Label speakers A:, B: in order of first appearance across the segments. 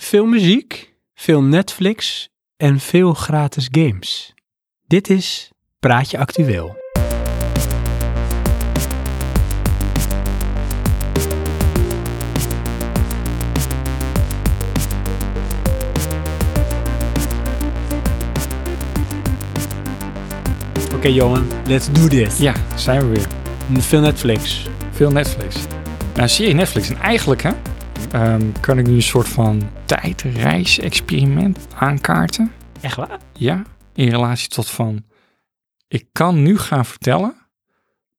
A: Veel muziek, veel Netflix en veel gratis games. Dit is Praatje Actueel. Oké Johan, let's do this.
B: Ja, zijn we weer.
A: Veel Netflix.
B: Veel Netflix. Nou, zie je Netflix. En eigenlijk hè, ehm, kan ik nu een soort van tijdreis-experiment aankaarten.
A: Echt waar?
B: Ja, in relatie tot van... Ik kan nu gaan vertellen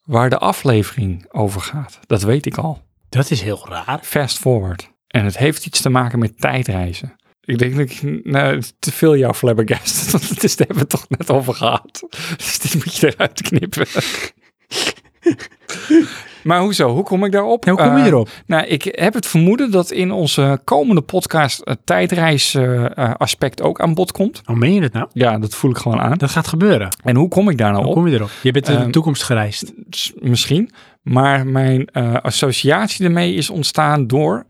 B: waar de aflevering over gaat. Dat weet ik al.
A: Dat is heel raar.
B: Fast forward. En het heeft iets te maken met tijdreizen. Ik denk dat ik nou, te veel jou flabbergast. Want het is, daar hebben we het toch net over gehad. Dus dit moet je eruit knippen. maar hoezo? Hoe kom ik daarop?
A: En hoe kom je
B: Eh,
A: erop?
B: nou, ik heb het vermoeden dat in onze komende podcast het tijdreisaspect ook aan bod komt.
A: Hoe meen je dat nou?
B: Ja, dat voel ik gewoon aan.
A: Dat gaat gebeuren.
B: En hoe kom ik daar nou
A: Hoe
B: op?
A: kom je erop? Je bent in de
B: Ehm,
A: toekomst gereisd.
B: S- Misschien. Maar mijn eh, associatie ermee is ontstaan door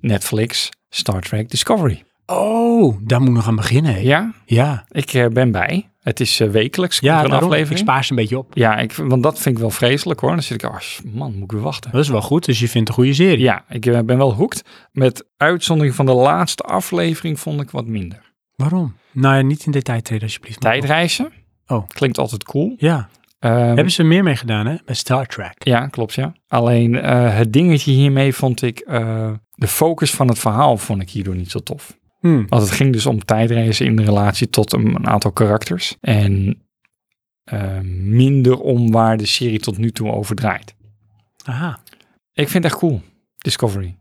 B: Netflix Star Trek Discovery.
A: Oh, daar moet ik nog aan beginnen. hè?
B: Ja,
A: Ja,
B: ik eh, ben bij. Het is eh, wekelijks. komt
A: ja
B: er een
A: daarom.
B: aflevering.
A: Ik spaar ze een beetje op.
B: Ja, ik, want dat vind ik wel vreselijk hoor. Dan zit ik, oh man, moet ik weer wachten.
A: Dat is wel goed, dus je vindt een goede serie.
B: Ja, ik eh, ben wel hooked. Met uitzondering van de laatste aflevering vond ik wat minder.
A: Oh, Waarom? Nou ja, niet in detail treden alsjeblieft. maar-
B: Tijdreizen.
A: Oh.
B: Klinkt altijd cool.
A: Ja,
B: Ehm,
A: hebben ze meer mee gedaan hè? Bij Star Trek.
B: Ja, klopt ja. Alleen eh, het dingetje hiermee vond ik, eh, de focus van het verhaal vond ik hierdoor niet zo tof.
A: Hmm.
B: Want het ging dus om tijdreizen in relatie tot een, een aantal karakters. En eh, minder om waar de serie tot nu toe over draait.
A: Aha.
B: Ik vind het echt cool, Discovery.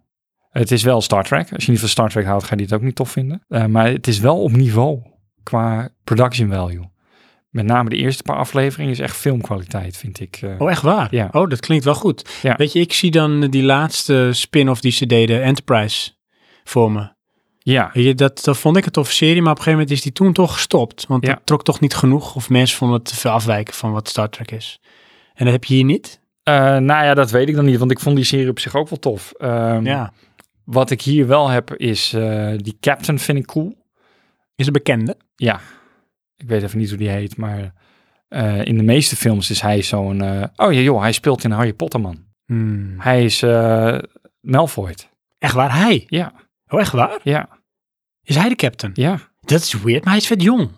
B: Het is wel Star Trek. Als je niet van Star Trek houdt, ga je dit ook niet tof vinden. Eh, maar het is wel op niveau qua production value. Met name de eerste paar afleveringen is echt filmkwaliteit, vind ik. eh.
A: Oh, echt waar?
B: Ja.
A: Oh, dat klinkt wel goed.
B: Ja.
A: Weet je, ik zie dan eh, die laatste spin-off die ze deden, Enterprise, voor me.
B: Ja,
A: Weet je, dat, dat vond ik een toffe serie, maar op een gegeven moment is die toen toch gestopt. Want
B: Ja.
A: dat trok toch niet genoeg, of mensen vonden het te veel afwijken van wat Star Trek is. En dat heb je hier niet?
B: Eh, nou ja, dat weet ik dan niet, want ik vond die serie op zich ook wel tof. Ehm,
A: Ja.
B: Wat ik hier wel heb is, eh, die captain vind ik cool.
A: Is een bekende?
B: Ik weet even niet hoe die heet, maar eh, in de meeste films is hij zo'n... eh, oh ja, joh, hij speelt in Harry Potter, man.
A: Hmm.
B: Hij is eh Malfoy.
A: Echt waar? Hij?
B: Ja,
A: Oh, echt waar?
B: ja,
A: Is hij de captain?
B: ja,
A: Dat is weird, maar hij is vet jong.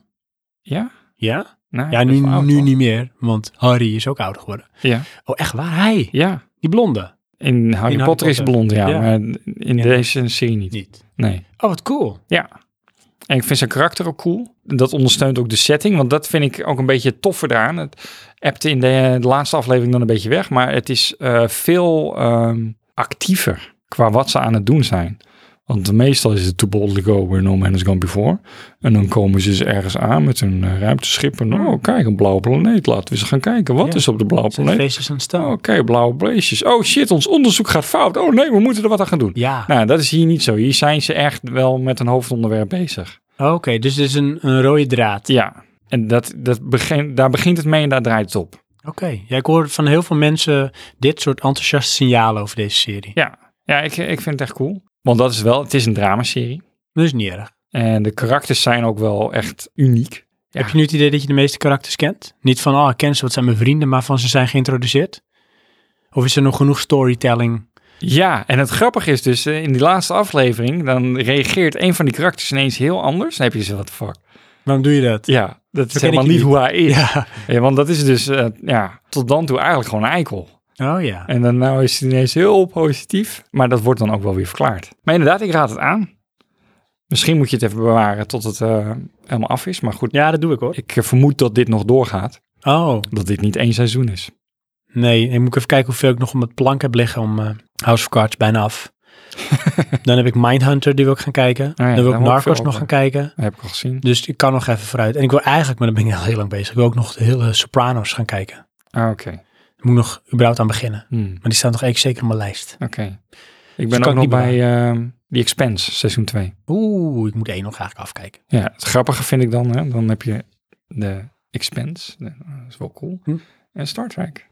B: ja.
A: Ja?
B: Nou,
A: Ja,
B: dat is
A: nu,
B: wel oud,
A: nu
B: hoor.
A: niet meer, want Harry is ook ouder geworden.
B: Ja,
A: Oh, echt waar? Hij?
B: ja.
A: Die blonde?
B: In Harry
A: Harry
B: Potter, is
A: Potter.
B: blond, ja,
A: Ja.
B: maar in
A: Ja.
B: deze serie niet.
A: Niet.
B: Nee.
A: Oh, wat cool.
B: Ja. En ik vind zijn karakter ook cool. Dat ondersteunt ook de setting, want dat vind ik ook een beetje toffer daaraan. Het appte in de, de laatste aflevering dan een beetje weg, maar het is eh, veel ehm, actiever qua wat ze aan het doen zijn. Want meestal is het too boldly go where no man has gone before. En dan komen ze dus ergens aan met hun eh, ruimteschip en oh kijk, een blauwe planeet. Laten we eens gaan kijken, wat
A: Hmm. Ja.
B: is op de blauwe
A: Zijn
B: planeet? Oh,
A: feest is aan het
B: Oké,
A: staan.
B: blauwe blaasjes. Oh shit, ons onderzoek gaat fout. Oh nee, we moeten er wat aan gaan doen.
A: Ja.
B: Nou, dat is hier niet zo. Hier zijn ze echt wel met een hoofdonderwerp bezig.
A: Oké, dus dit is een, een rode draad.
B: Ja, en dat, dat begin, daar begint het mee en daar draait het op.
A: Oké. Ja, ik hoor van heel veel mensen dit soort enthousiaste signalen over deze serie.
B: Ja, ja ik, ik vind het echt cool. Want dat is wel, het is een dramaserie.
A: Dat is niet erg.
B: En de karakters zijn ook wel echt uniek. Ja.
A: Heb je nu het idee dat je de meeste karakters kent? Niet van, oh, ik ken ze, wat zijn mijn vrienden, maar van ze zijn geïntroduceerd? Of is er nog genoeg storytelling?
B: Ja, en het grappige is dus, eh, in die laatste aflevering, dan reageert een van die karakters ineens heel anders. Dan heb je ze, wat fuck.
A: Waarom doe je dat?
B: Ja, dat is
A: ken
B: helemaal
A: ik
B: niet
A: niet.
B: hoe hij is.
A: Ja.
B: Ja, want dat is dus, eh, ja, tot dan toe eigenlijk gewoon een eikel.
A: Oh ja.
B: En dan nou is het ineens heel positief. Maar dat wordt dan ook wel weer verklaard. Maar inderdaad, ik raad het aan. Misschien moet je het even bewaren tot het eh, helemaal af is. Maar goed,
A: Ja, dat doe ik hoor.
B: ik eh, vermoed dat dit nog doorgaat.
A: Oh,
B: Dat dit niet één seizoen is.
A: nee. Ik moet even kijken hoeveel ik nog om het plank heb liggen om eh, House of Cards bijna af. dan heb ik Mindhunter, die wil ik gaan kijken.
B: Oh ja,
A: dan wil ik
B: daar hoor ik
A: Narcos
B: veel
A: nog gaan
B: over.
A: kijken.
B: Dat heb ik al gezien.
A: Dus ik kan nog even vooruit. En ik wil eigenlijk, maar dan ben ik al heel lang bezig, ik wil ook nog de hele Sopranos gaan kijken.
B: Ah, oké.
A: Daar moet ik nog überhaupt aan beginnen.
B: Hmm,
A: Maar die staan nog echt zeker op mijn lijst.
B: oké. Ik ben
A: kan
B: ook
A: ik
B: nog
A: niet
B: bij ehm The Expense, seizoen 2.
A: Oeh, ik moet één nog eigenlijk afkijken.
B: Ja, het grappige vind ik dan, hè, dan heb je de Expense. de- dat is wel cool.
A: Hm.
B: En Star Trek.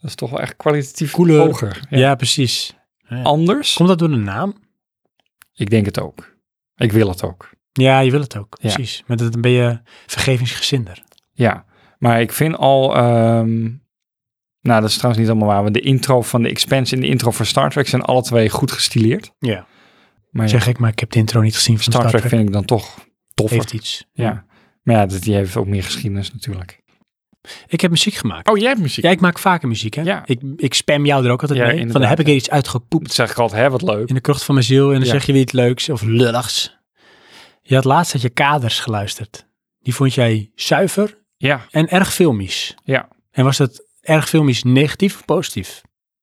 B: Dat is toch wel echt kwalitatief
A: Cooler.
B: hoger.
A: Ja,
B: Ja.
A: precies.
B: Anders.
A: Komt dat door de naam?
B: Ik denk het ook. Ik wil het ook.
A: Ja, je wil het ook.
B: Ja. Oh
A: Precies. Maar dan ben je vergevingsgezinder.
B: Ja, maar ik vind al... ehm, nou, dat is trouwens niet allemaal waar. Want de intro van de Expanse en de intro van Star Trek zijn alle twee goed gestileerd.
A: Ja.
B: Maar ja,
A: Zeg ik, maar ik heb de intro niet gezien van
B: Star, Trek vind ik dan toch toffer.
A: Heeft iets.
B: Ja, maar ja, dat- die heeft ook meer geschiedenis natuurlijk.
A: Ik heb muziek gemaakt.
B: Oh, jij hebt muziek.
A: Ja, ik maak vaker muziek, hè?
B: Ja.
A: Ik, ik spam jou er ook altijd
B: Ja,
A: mee. Van, dan
B: inderdaad,
A: heb ik er iets uitgepoept
B: Dat zeg ik altijd, hè, wat leuk.
A: in de krocht van mijn ziel. En dan
B: Ja.
A: zeg je weer iets leuks of lulligs. Je had laatst had je kaders geluisterd. Die vond jij zuiver
B: Ja,
A: en erg filmisch.
B: Ja.
A: En was dat erg filmisch negatief of positief?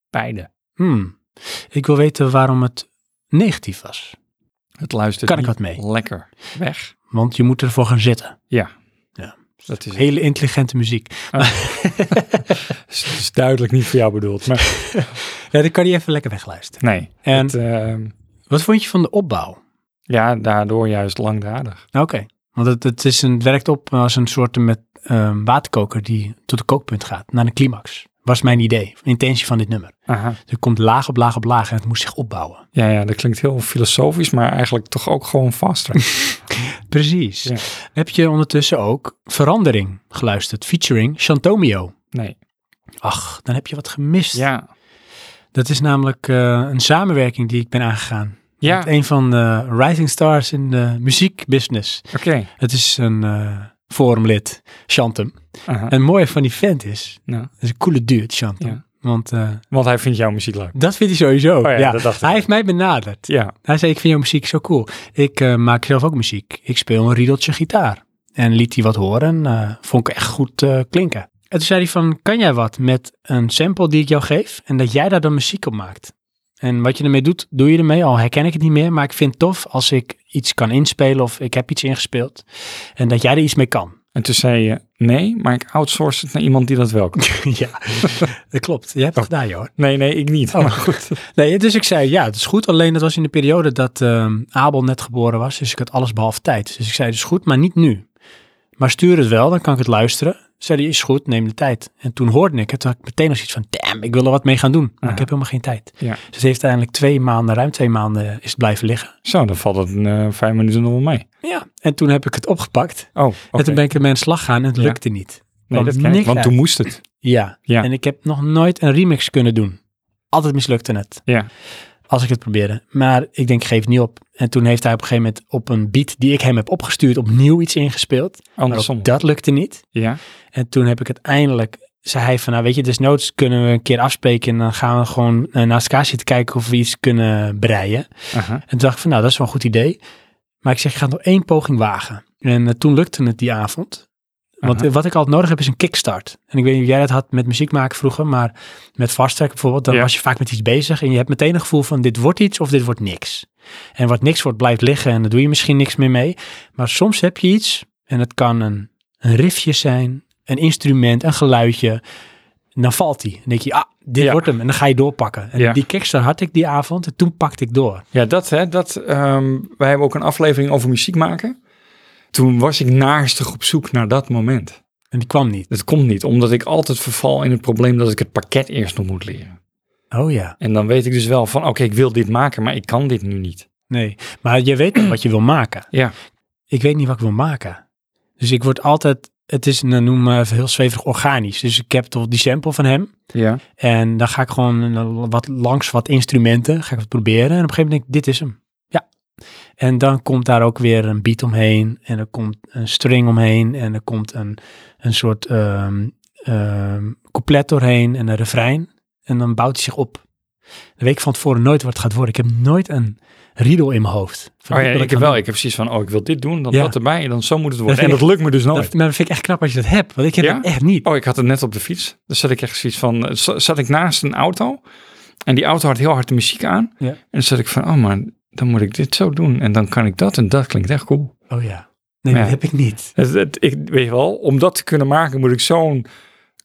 B: beide.
A: Hmm. Ik wil weten waarom het negatief was.
B: Het luistert
A: Kan ik
B: niet
A: wat mee?
B: lekker weg.
A: Want je moet ervoor gaan zitten.
B: Dat is, Oh.
A: Hele intelligente muziek.
B: is, is duidelijk niet voor jou bedoeld. Maar
A: Ja, dan kan je even lekker wegluisteren.
B: nee.
A: En
B: Het, ehm,
A: wat vond je van de opbouw?
B: ja, daardoor juist langdradig.
A: Nou, Oké. Want het, het, is een, het werkt op als een soort met ehm, waterkoker die tot de kookpunt gaat, naar een climax. Was mijn idee, intentie van dit nummer.
B: Aha.
A: Er komt laag op laag op laag en het moest zich opbouwen.
B: Ja, ja, dat klinkt heel filosofisch, maar eigenlijk toch ook gewoon vaster.
A: Precies.
B: Ja.
A: Heb je ondertussen ook Verandering geluisterd, featuring Chantomio.
B: Nee.
A: Ach, dan heb je wat gemist.
B: Ja.
A: Dat is namelijk eh, een samenwerking die ik ben aangegaan.
B: Ja,
A: Met een van de rising stars in de muziekbusiness.
B: oké.
A: Het is een eh, forumlid, Chantem.
B: Aha.
A: En het mooie van die vent is,
B: Nou.
A: dat is een coole dude, Chantem.
B: Ja.
A: Want eh,
B: Want hij vindt jouw muziek leuk.
A: dat vindt hij sowieso.
B: Oh ja,
A: ja,
B: dat dacht ik.
A: Hij heeft mij benaderd.
B: Ja.
A: Hij zei, ik vind jouw muziek zo cool. Ik eh, maak zelf ook muziek. Ik speel een riedeltje gitaar. En liet hij wat horen en eh, vond ik echt goed eh, klinken. En toen zei hij van, kan jij wat met een sample die ik jou geef? En dat jij daar dan muziek op maakt. En wat je ermee doet, doe je ermee. Al herken ik het niet meer, maar ik vind het tof als ik iets kan inspelen of ik heb iets ingespeeld. En dat jij er iets mee kan.
B: En toen zei je, nee, maar ik outsource het naar iemand die dat wel kan.
A: ja, dat klopt. Je hebt het
B: Oh.
A: gedaan, joh.
B: Nee, nee, ik niet. Maar Oh, goed.
A: Nee, dus ik zei, ja, het is goed. Alleen dat was in de periode dat ehm, Abel net geboren was. Dus ik had alles behalve tijd. Dus ik zei, het is goed, maar niet nu. Maar stuur het wel, dan kan ik het luisteren. Zei hij, is goed, neem de tijd. En toen hoorde ik het. Toen had ik meteen als iets van, damn, ik wil er wat mee gaan doen. Maar
B: Aha.
A: ik heb helemaal geen tijd.
B: Ja.
A: Dus het heeft uiteindelijk twee maanden, ruim twee maanden, is het blijven liggen.
B: Zo, dan valt het eh, vijf minuten nog wel mee.
A: Ja, en toen heb ik het opgepakt.
B: Oh, oké.
A: En toen ben ik ermee aan de slag gaan en het
B: Ja.
A: lukte niet.
B: nee,
A: kwam
B: dat ken ik,
A: niks
B: want
A: uit.
B: toen moest het.
A: Ja.
B: Ja.
A: en ik heb nog nooit een remix kunnen doen. Altijd mislukte het.
B: Ja.
A: Als ik het probeerde. Maar ik denk, ik geef het niet op. En toen heeft hij op een gegeven moment op een beat die ik hem heb opgestuurd, opnieuw iets ingespeeld. Maar
B: Andersom.
A: ook dat lukte niet.
B: Ja.
A: En toen heb ik het eindelijk, zei hij van, nou weet je, desnoods kunnen we een keer afspreken en dan gaan we gewoon eh, naast elkaar zitten kijken of we iets kunnen breien.
B: Aha.
A: En toen dacht ik van, nou, dat is wel een goed idee. Maar ik zeg, ik ga nog één poging wagen. En eh, toen lukte het die avond. Want
B: Aha.
A: eh, wat ik altijd nodig heb is een kickstart. En ik weet niet of jij dat had met muziek maken vroeger, maar met vaststrekken bijvoorbeeld, dan
B: Ja.
A: was je vaak met iets bezig en je hebt meteen een gevoel van dit wordt iets of dit wordt niks. En wat niks wordt blijft liggen en daar doe je misschien niks meer mee. Maar soms heb je iets en het kan een, een riffje zijn, een instrument, een geluidje. En dan valt die. Dan denk je, ah, dit
B: Ja.
A: wordt hem. En dan ga je doorpakken. En
B: Ja.
A: die kickstart had ik die avond en toen pakte ik door.
B: Ja, dat hè. Dat, ehm, wij hebben ook een aflevering over muziek maken. Toen was ik naastig op zoek naar dat moment.
A: En die kwam niet.
B: Dat komt niet, omdat ik altijd verval in het probleem dat ik het pakket eerst nog moet leren.
A: Oh ja,
B: En dan weet ik dus wel van, oké, ik wil dit maken, maar ik kan dit nu niet.
A: nee. Maar je weet niet wat je wil maken.
B: Ja.
A: Ik weet niet wat ik wil maken. Dus ik word altijd, het is, nou, noem maar even heel zweverig, organisch. Dus ik heb toch die sample van hem.
B: Ja.
A: En dan ga ik gewoon eh, wat langs wat instrumenten, ga ik wat proberen. En op een gegeven moment denk ik, dit is hem. Ja. En dan komt daar ook weer een beat omheen. En er komt een string omheen. En er komt een, een soort ehm ehm, couplet doorheen en een refrein. En dan bouwt hij zich op. Dan weet ik van tevoren nooit wat het gaat worden. Ik heb nooit een riedel in mijn hoofd. Van
B: Oh ja,
A: dit wil
B: ik heb
A: gaan
B: wel. Ik heb precies van, oh, ik wil dit doen, dan
A: Ja.
B: dat erbij en dan zo moet het worden.
A: vind
B: en dat lukt me dus
A: doen.
B: nooit.
A: Dat, maar dat vind ik echt knap als je dat hebt. Want ik heb
B: Ja?
A: het echt niet.
B: Oh, ik had het net op de fiets. Dus zat ik echt zoiets van, eh, za- zat ik naast een auto en die auto had heel hard de muziek aan.
A: Ja.
B: En dan zat ik van, oh maar dan moet ik dit zo doen en dan kan ik dat en dat klinkt echt cool.
A: Oh ja. Nee,
B: Ja.
A: dat heb ik niet.
B: Het, het- ik weet je wel, om dat te kunnen maken moet ik zo'n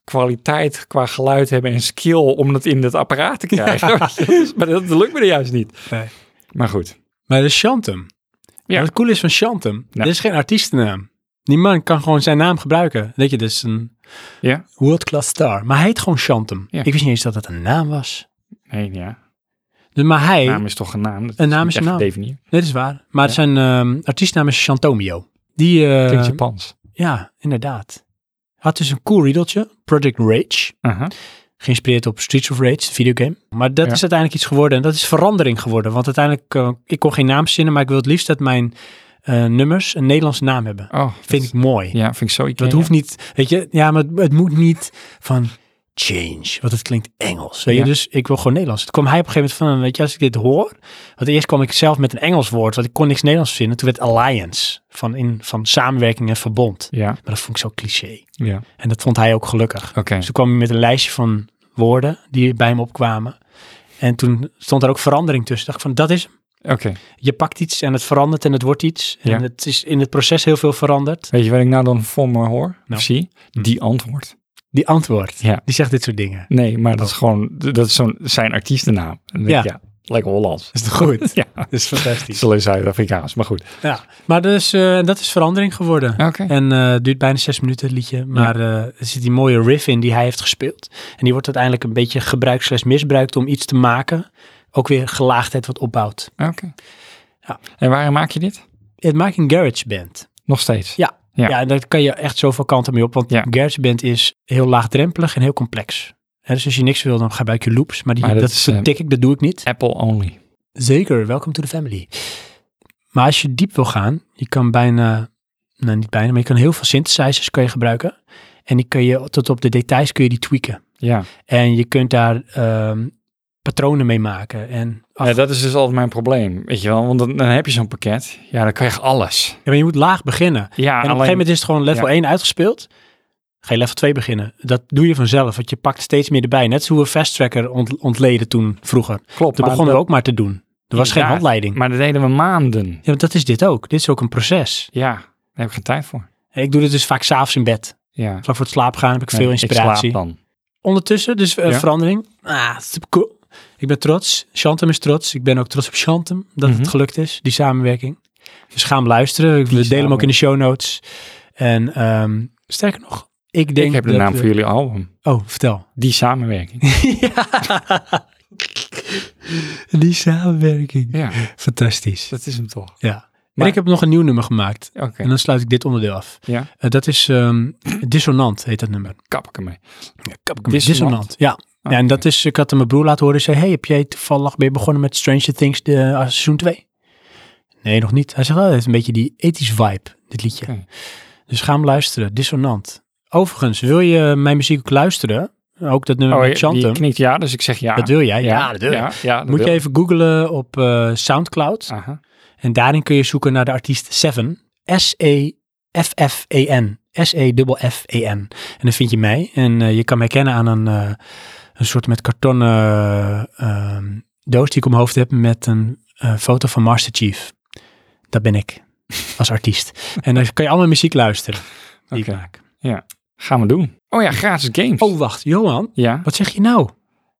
B: kwaliteit qua geluid hebben en skill om dat in het apparaat te krijgen. maar dat lukt me er juist niet.
A: Nee.
B: Maar goed.
A: Maar dat is Shantum.
B: Ja.
A: Ja. Wat cool is van Shantum,
B: Ja.
A: dit is geen artiestennaam. Die man kan gewoon zijn naam gebruiken. Weet je, dit is een
B: Ja.
A: world class star. Maar hij heet gewoon Shantum.
B: Ja.
A: Ik wist niet eens dat dat een naam was.
B: Nee, ja.
A: Dus, maar hij,
B: naam is toch een naam? Dat
A: Een naam
B: niet
A: is een
B: echt
A: naam.
B: gedefinieerd.
A: dit is waar. Maar zijn ehm, artiestnaam is Shantomio. Die, eh,
B: Klinkt Japans.
A: ja, inderdaad. Had dus een cool riedeltje, Project Rage.
B: Aha.
A: Geïnspireerd op Streets of Rage, de videogame. Maar dat
B: Ja.
A: is uiteindelijk iets geworden. En dat is verandering geworden. Want uiteindelijk, eh, ik kon geen naam zinnen, maar ik wil het liefst dat mijn eh, nummers een Nederlandse naam hebben.
B: Oh,
A: Vind ik mooi.
B: Ja, vind ik zo
A: Dat
B: Ikea.
A: hoeft niet, weet je, ja, maar het, het moet niet van change, want het klinkt Engels, weet je,
B: Ja.
A: dus ik wil gewoon Nederlands. Toen kwam hij op een gegeven moment van, weet je, als ik dit hoor, want eerst kwam ik zelf met een Engels woord, want ik kon niks Nederlands vinden, toen werd alliance, van, in, van samenwerking en verbond.
B: Ja,
A: Maar dat vond ik zo cliché.
B: ja.
A: En dat vond hij ook gelukkig.
B: Oké.
A: Dus toen kwam hij met een lijstje van woorden die bij hem opkwamen. En toen stond er ook verandering tussen. Dacht ik van, dat is hem.
B: Oké.
A: Je pakt iets en het verandert en het wordt iets. En
B: Ja.
A: het is in het proces heel veel veranderd.
B: Weet je wat ik nou dan voor me hoor?
A: Nou.
B: Of zie? Die antwoord.
A: Die antwoord,
B: Ja.
A: die zegt dit soort dingen.
B: Nee, maar dat is gewoon, dat is zo'n, zijn artiestennaam. En dan denk ik,
A: Oh. Ja.
B: ja. Lekker Hollands.
A: Dat is toch goed?
B: Ja,
A: Dat is
B: het
A: fantastisch.
B: is alleen Zuid-Afrikaans, maar goed.
A: Ja, maar dus, eh, dat is verandering geworden.
B: Oké.
A: En eh, het duurt bijna zes minuten het liedje. Maar eh, er zit die mooie riff in die hij heeft gespeeld. En die wordt uiteindelijk een beetje gebruikt slash misbruikt om iets te maken. Ook weer gelaagdheid wat opbouwt.
B: Oké.
A: Ja.
B: En waarom maak je dit?
A: Het maakt een GarageBand.
B: Nog steeds?
A: Ja. Ja.
B: Ja.
A: en daar kan je echt zoveel kanten mee op. Want
B: Ja.
A: GarageBand is heel laagdrempelig en heel complex. Hè, dus als je niks wil, dan gebruik je loops. Maar, die,
B: Maar
A: dat,
B: dat is, eh,
A: tik ik, dat doe ik niet.
B: Apple only.
A: Zeker, welcome to the family. Maar als je diep wil gaan, je kan bijna, nou niet bijna, maar je kan heel veel synthesizers kan je gebruiken. En die kun je tot op de details kun je die tweaken.
B: Ja.
A: En je kunt daar ehm, patronen mee maken. En af-
B: ja, dat is dus altijd mijn probleem, weet je wel. Want dan, dan heb je zo'n pakket. Ja, dan krijg je alles.
A: Ja, maar je moet laag beginnen. En
B: Ja,
A: op een
B: alleen...
A: gegeven moment is het gewoon level
B: ja.
A: 1 uitgespeeld. Ga je level 2 beginnen. Dat doe je vanzelf, want je pakt steeds meer erbij. Net zoals we Fast Tracker ont- ontleden toen vroeger. Toen
B: klopt. maar
A: begonnen we
B: dat-
A: ook maar te doen. Er was geen
B: Inderdaad.
A: handleiding.
B: Maar dat deden we maanden.
A: Ja, maar dat is dit ook. Dit is ook een proces.
B: Ja, daar heb ik geen tijd voor.
A: Ik doe dit dus vaak s'avonds in bed.
B: Ja.
A: Vlak voor het slaap gaan heb ik
B: Nee,
A: veel inspiratie.
B: Ik slaap dan.
A: Ondertussen, dus eh,
B: Ja.
A: verandering. Ah, super cool. Ik ben trots. Chantem is trots. Ik ben ook trots op Chantem dat het
B: Mhm.
A: gelukt is, die samenwerking. Dus ga hem luisteren. We delen hem ook
B: samenwerking.
A: in de show notes. En ehm, sterker nog, ik denk.
B: Ik heb de
A: dat
B: naam
A: we-
B: voor jullie album.
A: Oh, vertel.
B: Die samenwerking.
A: Die samenwerking.
B: ja,
A: Fantastisch.
B: dat is hem toch.
A: Ja.
B: Maar-
A: En ik heb nog een nieuw nummer gemaakt.
B: Oké.
A: En dan sluit ik dit onderdeel af.
B: Ja,
A: Eh, dat is ehm, Dissonant, heet dat nummer.
B: kap ik ermee.
A: Dissonant.
B: Dissonant.
A: Ja.
B: Ah,
A: ja, en dat
B: oké.
A: is, ik had aan mijn broer laten horen. Ik zei, hey, heb jij toevallig weer begonnen met Stranger Things de, ah, seizoen 2? Nee, nog niet. Hij zegt, oh, het heeft een beetje die ethisch vibe, dit liedje.
B: Oké.
A: Dus ga hem luisteren, Dissonant. Overigens, wil je mijn muziek ook luisteren? Ook dat nummer
B: Oh,
A: met
B: je, je
A: Chantem.
B: knikt ja, dus ik zeg ja.
A: Dat wil jij?
B: Ja, ja, dat
A: Moet
B: wil
A: je
B: ik.
A: even googlen op eh, Soundcloud.
B: Aha.
A: En daarin kun je zoeken naar de artiest Seven. E S-E-F-F-E-N. E S-E-F-F-E-N. En dan vind je mij. En eh, je kan mij kennen aan een, eh, een soort met kartonnen eh, ehm, doos die ik om mijn hoofd heb met een eh, foto van Master Chief. Dat ben ik. Als artiest. En dan kan je allemaal muziek luisteren. Die ik
B: Oké.
A: maak.
B: Gaan we doen. Oh ja, gratis games.
A: Oh, wacht. Johan,
B: Ja,
A: wat zeg je nou?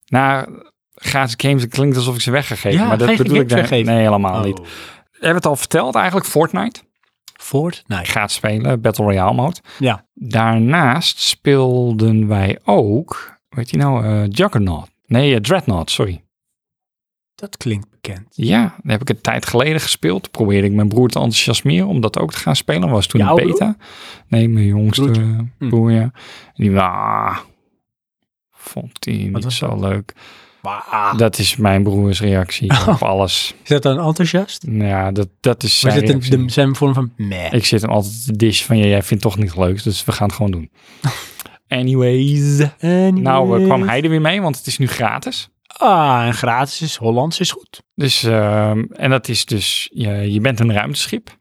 B: nou, gratis games dat klinkt alsof ik ze weggegeven.
A: Ja,
B: maar dat
A: geen
B: bedoel
A: games
B: ik dan-
A: weggeven.
B: Nee, helemaal niet.
A: Oh.
B: We hebben het al verteld eigenlijk, Fortnite.
A: Fortnite.
B: Gaat spelen, Battle Royale mode.
A: Ja.
B: Daarnaast speelden wij ook, weet je nou, eh, Juggernaut. Nee, eh, Dreadnought, sorry.
A: Dat klinkt bekend.
B: Ja, daar heb ik een tijd geleden gespeeld. Probeerde ik mijn broer te enthousiasmeren om dat ook te gaan spelen. Was toen
A: Jouw
B: een beta. Nee, mijn jongste
A: Broertje.
B: eh,
A: Hm.
B: broer, ja. Die, ah, vond hij niet
A: was
B: zo
A: dat? Ah.
B: leuk.
A: Wauw.
B: Dat is mijn broers reactie op alles.
A: Is dat dan enthousiast?
B: Nou Ja, dat, dat is
A: Of
B: zijn
A: is dat
B: reactie.
A: een, de, zijn we vorm van meh?
B: Ik zit hem altijd te dish van, ja, jij vindt het toch niet leuk, dus we gaan het gewoon doen. Anyways. Nou, eh, kwam hij er weer mee, want het is nu gratis.
A: Ah, en gratis is Hollands is goed.
B: Dus, ehm, en dat is dus, je, je bent een ruimteschip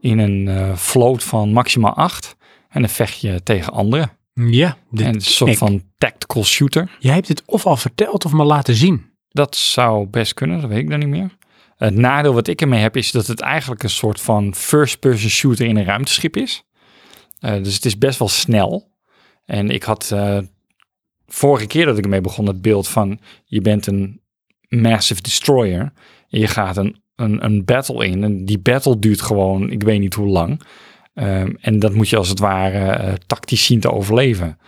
B: in een eh, vloot van maximaal acht. En dan vecht je tegen anderen.
A: Ja.
B: en het is een soort
A: ik.
B: van tactical shooter.
A: Jij hebt dit of al verteld of me laten zien.
B: Dat zou best kunnen, dat weet ik dan niet meer. Het nadeel wat ik ermee heb is dat het eigenlijk een soort van first-person shooter in een ruimteschip is. Eh, dus het is best wel snel. En ik had eh, vorige keer dat ik ermee begon het beeld van je bent een massive destroyer. En je gaat een, een, een battle in. En die battle duurt gewoon, ik weet niet hoe lang. Ehm, en dat moet je als het ware eh, tactisch zien te overleven.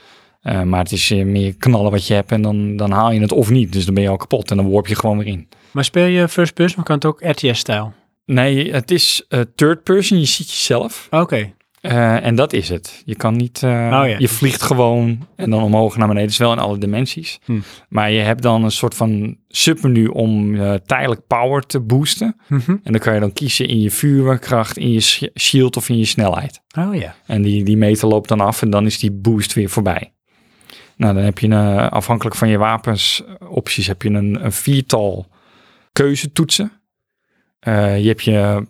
B: Eh, maar het is eh, meer knallen wat je hebt en dan, dan haal je het of niet. Dus dan ben je al kapot en dan worp je gewoon weer in.
A: Maar speel je first person, maar kan het ook RTS-stijl?
B: Nee, het is eh, third person. Je ziet jezelf.
A: Oké.
B: Eh, en dat is het. Je kan niet. eh,
A: ja.
B: Je vliegt gewoon en dan omhoog naar beneden. Dus wel in alle dimensies.
A: Hm.
B: Maar je hebt dan een soort van submenu om eh, tijdelijk power te boosten.
A: Mhm.
B: En dan kan je dan kiezen in je vuurkracht, in je sh- shield of in je snelheid.
A: Oh ja.
B: En die, die meter loopt dan af en dan is die boost weer voorbij. Nou, dan heb je eh, afhankelijk van je wapensopties heb je een, een viertal keuzetoetsen. Eh, je hebt je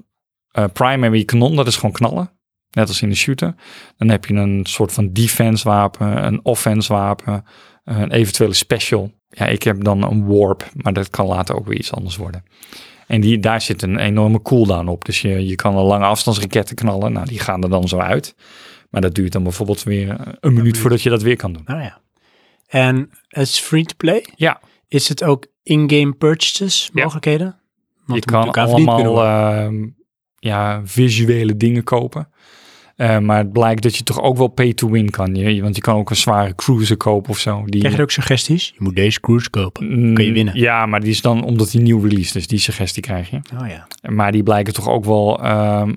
B: eh, primary kanon, dat is gewoon knallen. Net als in de shooter. Dan heb je een soort van defense wapen, een offense wapen, eh, een eventuele special. Ja, ik heb dan een warp, maar dat kan later ook weer iets anders worden. En die, daar zit een enorme cooldown op. Dus je, je kan een lange afstandsraketten knallen. Nou, die gaan er dan zo uit. Maar dat duurt dan bijvoorbeeld weer een, minuut
A: minuut.
B: voordat je dat weer kan doen.
A: Oh ja. En het is free to play?
B: Ja.
A: Is het ook in-game purchases
B: Ja.
A: mogelijkheden?
B: je
A: Want er moet
B: kan
A: ook aan verdiend kunnen
B: allemaal
A: worden.
B: ehm, ja, visuele dingen kopen. Eh, maar het blijkt dat je toch ook wel pay to win kan. Je, want je kan ook een zware cruiser kopen of zo. Die,
A: Krijg je er ook suggesties? Je moet deze cruise kopen.
B: Mm,
A: kun je winnen.
B: Ja, maar die is dan omdat die nieuw release is. Die suggestie krijg je.
A: Oh ja.
B: Maar die blijken toch ook wel ehm,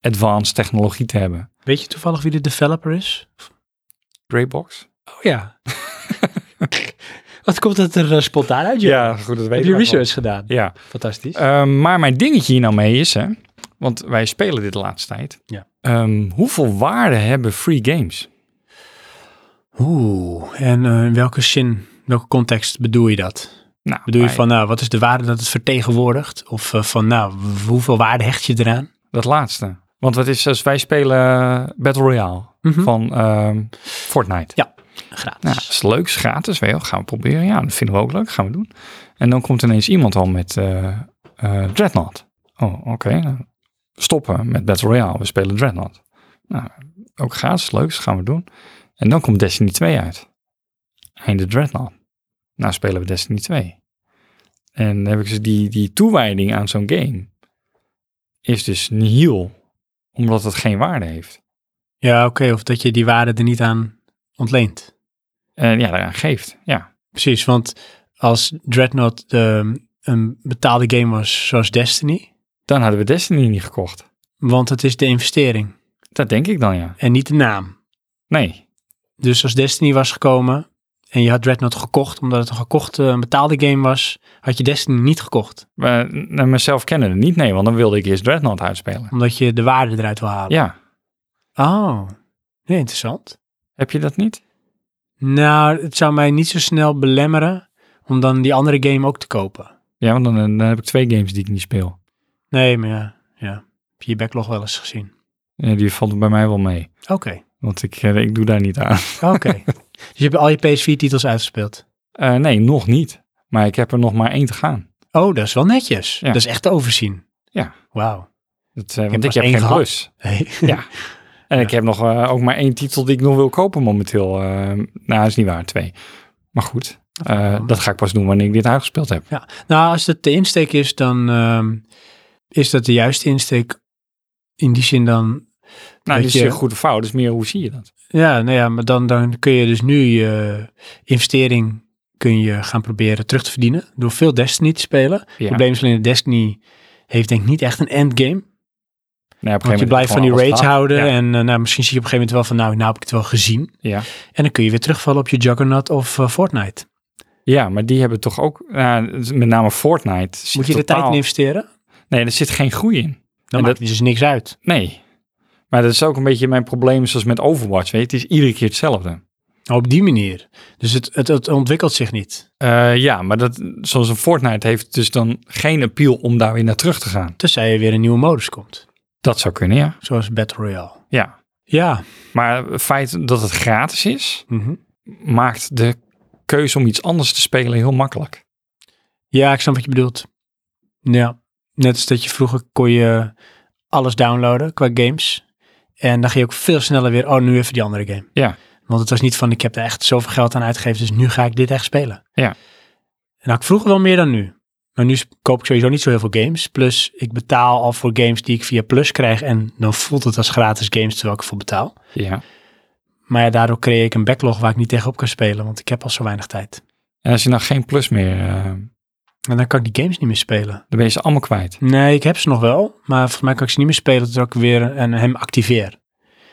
B: advanced technologie te hebben.
A: Weet je toevallig wie de developer is?
B: Greybox?
A: Oh ja. Wat komt dat er eh, spontaan uit? joh?
B: Ja, goed, dat weet
A: Heb
B: ik
A: je
B: nog wel.
A: research gedaan?
B: Ja,
A: Fantastisch.
B: Ehm, maar mijn dingetje hier nou mee is, hè, want wij spelen dit de laatste tijd.
A: Ja.
B: Ehm, hoeveel waarde hebben free games?
A: Oeh, en eh, in welke zin, welke context bedoel je dat?
B: Nou,
A: Bedoel je
B: wij-
A: van, nou, wat is de waarde dat het vertegenwoordigt? Of eh, van, nou, w- hoeveel waarde hecht je eraan?
B: Dat laatste. Want wat is als wij spelen Battle Royale
A: Mhm.
B: van ehm, Fortnite. Nou, dat
A: Gratis.
B: is leuk, is gratis. Wel, gaan we proberen. Ja, dat vinden we ook leuk. Gaan we doen. En dan komt ineens iemand al met eh, eh, Dreadnought. Oh, oké. nou, Stoppen met Battle Royale. We spelen Dreadnought. Nou, ook gratis, leuk. Dat gaan we doen. En dan komt Destiny 2 uit. Einde Dreadnought. Nou spelen we Destiny 2. En dan heb ik dus die, die toewijding aan zo'n game. Is dus nihil. Omdat het geen waarde heeft.
A: Ja, oké, of dat je die waarde er niet aan ontleent.
B: En ja, daaraan geeft. Ja.
A: Precies, want als Dreadnought ehm, een betaalde game was zoals Destiny,
B: Dan hadden we Destiny niet gekocht.
A: want het is de investering
B: Dat denk ik dan, ja.
A: en niet de naam.
B: Nee.
A: Dus als Destiny was gekomen en je had Dreadnought gekocht omdat het een gekochte, een betaalde game was, had je Destiny niet gekocht,
B: Maar, nou, mezelf kennen het niet, nee. Want dan wilde ik eerst Dreadnought uitspelen.
A: omdat je de waarde eruit wil halen.
B: Ja.
A: Oh, nee, interessant.
B: Heb je dat niet?
A: Nou, het zou mij niet zo snel belemmeren om dan die andere game ook te kopen.
B: Ja, want dan, dan heb ik twee games die ik niet speel.
A: Nee, maar ja, ja. heb je je backlog wel eens gezien.
B: Ja, Eh, die valt bij mij wel mee.
A: Oké,
B: Want ik, eh, ik doe daar niet aan.
A: oké. dus je hebt al je PS4-titels uitgespeeld.
B: Eh, nee, nog niet. Maar ik heb er nog maar één te gaan.
A: Oh, dat is wel netjes.
B: Ja.
A: Dat is echt te overzien.
B: Ja.
A: Wauw.
B: Dat, eh,
A: heb
B: want
A: pas
B: ik heb
A: één
B: geen
A: gehad.
B: plus.
A: Hey.
B: Ja. En ik heb nog eh, ook maar één titel die ik nog wil kopen momenteel. Eh, nou, is niet waar, twee. Maar goed, eh,
A: wel.
B: dat ga ik pas doen wanneer ik dit uitgespeeld heb.
A: Nou, als dat de insteek is, dan ehm, is dat de juiste insteek. In die zin dan,
B: Nou,
A: Weet
B: dit is
A: je-
B: een goede fout. Dus meer hoe zie je dat?
A: ja, nou ja, maar dan, dan kun je dus nu je investering kun je gaan proberen terug te verdienen door veel Destiny te spelen.
B: Ja.
A: Het probleem is alleen dat Destiny heeft denk ik niet echt een endgame.
B: Nee, op een gegeven
A: Want je
B: moment
A: blijft
B: heb
A: van
B: ik
A: die
B: gewoon
A: raids
B: alles
A: houden
B: Ja.
A: en eh, nou, misschien zie je op een gegeven moment wel van nou, nou heb ik het wel gezien.
B: Ja.
A: En dan kun je weer terugvallen op je Juggernaut of eh, Fortnite.
B: Ja, maar die hebben toch ook, nou, met name Fortnite. zit
A: Moet je er
B: totaal-
A: tijd in investeren? Dan
B: Nee, er zit geen groei in.
A: maakt
B: dat-
A: het dus niks uit.
B: Nee. Maar dat is ook een beetje mijn probleem zoals met Overwatch, weet je. Het is iedere keer hetzelfde.
A: Op die manier. Dus het, het, het ontwikkelt zich niet.
B: Eh, ja, maar dat, zoals een Fortnite heeft dus dan geen appeal om daar weer naar terug te gaan.
A: Tenzij er weer een nieuwe modus komt.
B: Dat zou kunnen, ja.
A: Zoals Battle Royale.
B: ja.
A: Ja.
B: Maar het feit dat het gratis is,
A: mhm.
B: maakt de keuze om iets anders te spelen heel makkelijk.
A: Ja, ik snap wat je bedoelt. Ja. Net als dat je vroeger kon je alles downloaden qua games. En dan ging je ook veel sneller weer, oh, nu even die andere game.
B: Ja.
A: Want het was niet van, ik heb er echt zoveel geld aan uitgegeven, dus nu ga ik dit echt spelen.
B: Ja.
A: En nou, ik vroeger wel meer dan nu. Maar nu sp- koop ik sowieso niet zo heel veel games. Plus, ik betaal al voor games die ik via Plus krijg. En dan voelt het als gratis games, terwijl ik ervoor betaal.
B: Ja.
A: Maar ja, daardoor creëer ik een backlog waar ik niet tegenop kan spelen, want ik heb al zo weinig tijd.
B: En als je nou geen plus meer eh,
A: En dan kan ik die games niet meer spelen.
B: Dan ben je ze allemaal kwijt.
A: Nee, ik heb ze nog wel. Maar volgens mij kan ik ze niet meer spelen totdat ik weer en hem activeer.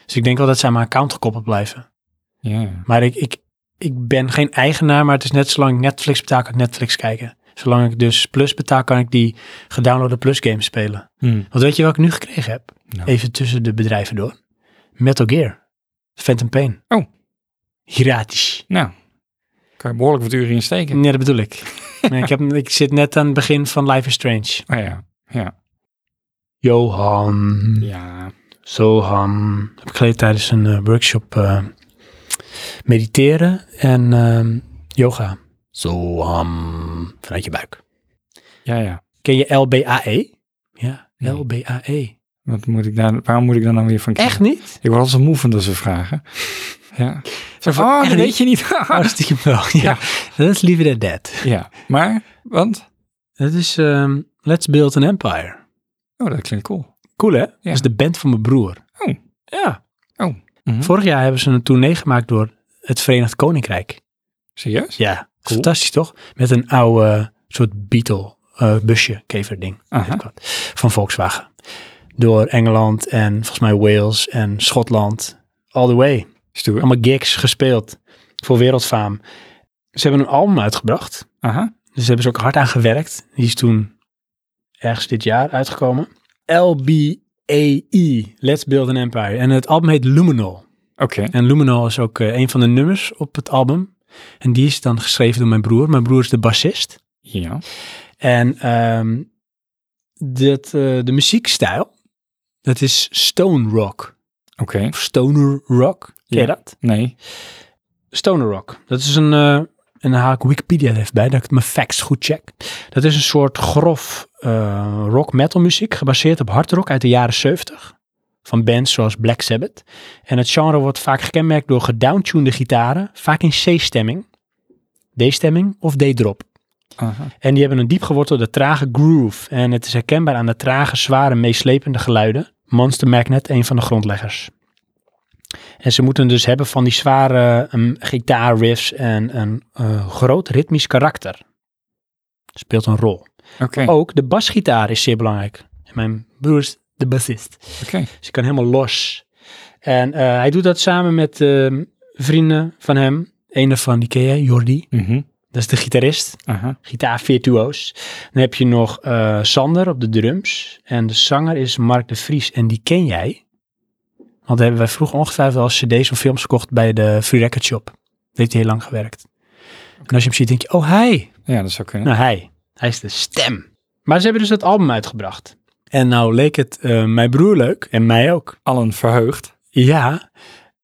A: Dus ik denk wel dat ze aan mijn account gekoppeld blijven.
B: Ja.
A: Maar ik, ik, ik ben geen eigenaar, maar het is net zolang ik Netflix betaal, kan ik Netflix kijken. Zolang ik dus Plus betaal, kan ik die gedownloade Plus games spelen.
B: Hm.
A: Want weet je wat ik nu gekregen heb?
B: Nou.
A: Even tussen de bedrijven door. Metal Gear. Phantom Pain.
B: Oh.
A: Gratis.
B: Nou, kan je behoorlijk wat uren in steken.
A: Nee, dat bedoel ik. Nee, ik, heb, ik zit net aan het begin van Life is Strange.
B: Oh ja, ja.
A: Johan.
B: Ja.
A: Soham. ehm, Heb ik geleerd tijdens een eh, workshop eh, mediteren en ehm, yoga. Soham. ehm, Vanuit je buik.
B: Ja, ja.
A: Ken je LBAE? Ja,
B: Nee.
A: LBAE.
B: Wat moet ik daar, waarom moet ik daar nou weer van
A: E.
B: kiezen?
A: Echt niet?
B: Ik word altijd moe van dat ze vragen. Ja.
A: Zo van,
B: Oh,
A: echt
B: dat
A: niet?
B: weet je niet.
A: Hartstikke wel. Ja, dat is liever than dead.
B: ja. Maar, want?
A: Dat is ehm, Let's Build an Empire.
B: Oh, dat klinkt cool.
A: Cool hè? Dat is de band van mijn broer.
B: Oh.
A: Ja.
B: Mhm.
A: Vorig jaar hebben ze een tournee gemaakt door het Verenigd Koninkrijk.
B: Serieus?
A: Ja. Dat is
B: Cool.
A: Fantastisch toch? Met een oude soort Beetle eh, busje, keverding.
B: Aha.
A: Wat. Van Volkswagen. Door Engeland en volgens mij Wales en Schotland. All the way.
B: Stuur.
A: Allemaal gigs gespeeld. Voor wereldfaam. Ze hebben een album uitgebracht.
B: Aha.
A: Dus daar hebben ze ook hard aan gewerkt. Die is toen ergens dit jaar uitgekomen. LBAE, E, Let's Build an Empire. En het album heet Luminol.
B: Oké.
A: En Luminol is ook eh, een van de nummers op het album. En die is dan geschreven door mijn broer. Mijn broer is de bassist.
B: Ja.
A: En ehm, dit, eh, de muziekstijl, dat is stone rock.
B: Oké.
A: Of stoner rock. Ken je
B: Ja.
A: dat?
B: Nee.
A: Stoner Rock. Dat is een, eh, en dan haal ik Wikipedia er even bij, dat ik mijn facts goed check. Dat is een soort grof eh, rock metal muziek, gebaseerd op hard rock uit de jaren 70. Van bands zoals Black Sabbath. En het genre wordt vaak gekenmerkt door gedowntunede gitaren, vaak in C-stemming, D-stemming of D-drop.
B: Aha.
A: En die hebben een diep gewortelde trage groove. En het is herkenbaar aan de trage, zware, meeslepende geluiden. Monster Magnet, een van de grondleggers. En ze moeten dus hebben van die zware um, gitaarriffs en een eh, groot ritmisch karakter. Speelt een rol.
B: Oké.
A: Ook de basgitaar is zeer belangrijk. En mijn broer is de bassist.
B: Oké.
A: Dus je kan helemaal los. En eh, hij doet dat samen met eh, vrienden van hem. Een daarvan, die ken jij, Jordi.
B: Mhm.
A: Dat is de gitarist
B: Aha.
A: gitaarvirtuoos. Dan heb je nog eh, Sander op de drums. En de zanger is Mark de Vries. En die ken jij. Want hebben wij vroeger ongetwijfeld al cd's of films gekocht bij de Free Record Shop. Daar heeft hij heel lang gewerkt. En als je hem ziet, denk je, oh hij.
B: Ja, dat zou kunnen.
A: Nou hij. Hij is de stem. Maar ze hebben dus dat album uitgebracht. En nou leek het eh, mijn broer leuk. En mij ook.
B: Allen verheugd.
A: Ja,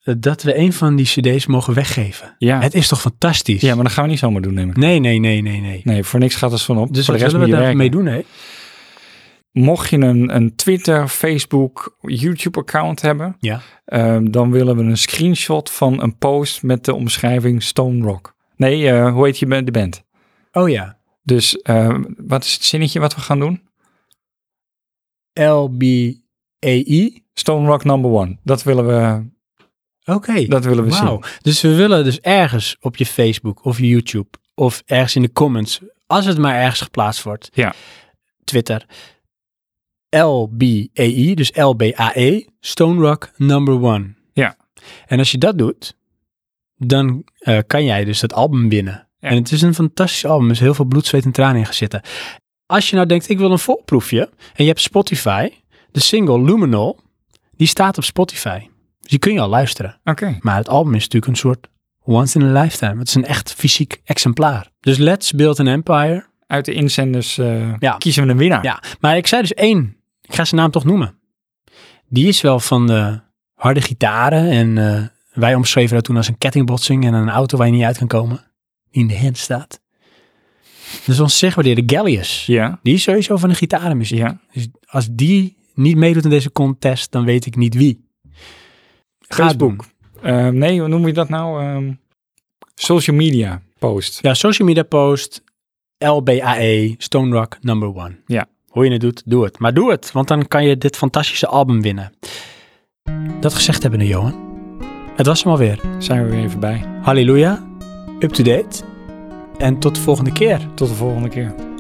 A: eh, dat we een van die cd's mogen weggeven.
B: Ja.
A: Het is toch fantastisch?
B: Ja, maar dat gaan we niet zomaar doen, neem ik.
A: Nee, nee, nee, nee, nee.
B: Nee, voor niks gaat het van op.
A: Dus
B: voor
A: wat
B: de rest
A: zullen we
B: moet je
A: daarmee
B: werken.
A: doen, hè?
B: Mocht je een, een Twitter, Facebook, YouTube-account hebben,
A: Ja.
B: ehm, dan willen we een screenshot van een post met de omschrijving Stone Rock. Nee, eh, hoe heet je ba- de band?
A: Oh ja.
B: Dus ehm, wat is het zinnetje wat we gaan doen?
A: LBAI.
B: Stone Rock number one. Dat willen we,
A: Oké.
B: dat willen we
A: Wauw.
B: zien.
A: Dus we willen dus ergens op je Facebook of je YouTube of ergens in de comments, als het maar ergens geplaatst wordt.
B: Ja.
A: Twitter. LBAI, dus LBAE, Stone Rock Number One.
B: Ja.
A: En als je dat doet, dan eh, kan jij dus dat album winnen.
B: Ja.
A: En het is een fantastisch album, er is heel veel bloed, zweet en tranen in gezitten. Als je nou denkt, ik wil een voorproefje, en je hebt Spotify, de single Luminol, die staat op Spotify. Dus die kun je al luisteren.
B: Oké.
A: Maar het album is natuurlijk een soort once in a lifetime. Het is een echt fysiek exemplaar. Dus Let's Build an Empire.
B: Uit de inzenders eh,
A: Ja.
B: kiezen we een winnaar.
A: Ja, maar ik zei dus één. Ik ga zijn naam toch noemen. Die is wel van de harde gitaren. En eh, wij omschreven dat toen als een kettingbotsing en een auto waar je niet uit kan komen. Die in de hand staat. Dus ons zeggen we de Gallius.
B: Ja.
A: Die is sowieso van de gitarenmuziek.
B: ja.
A: Dus als die niet meedoet in deze contest, dan weet ik niet wie. Ga het
B: Facebook.
A: doen.
B: Ehm, nee, hoe noem je dat nou? Ehm, social media post.
A: Ja, social media post, LBAE, E, Stone Rock number one.
B: Ja.
A: Hoe je het doet, doe het. Maar doe het, want dan kan je dit fantastische album winnen. Dat gezegd hebbende, Johan. Het was hem alweer.
B: Zijn we weer even bij.
A: Halleluja, up to date. En tot de volgende keer.
B: Tot de volgende keer.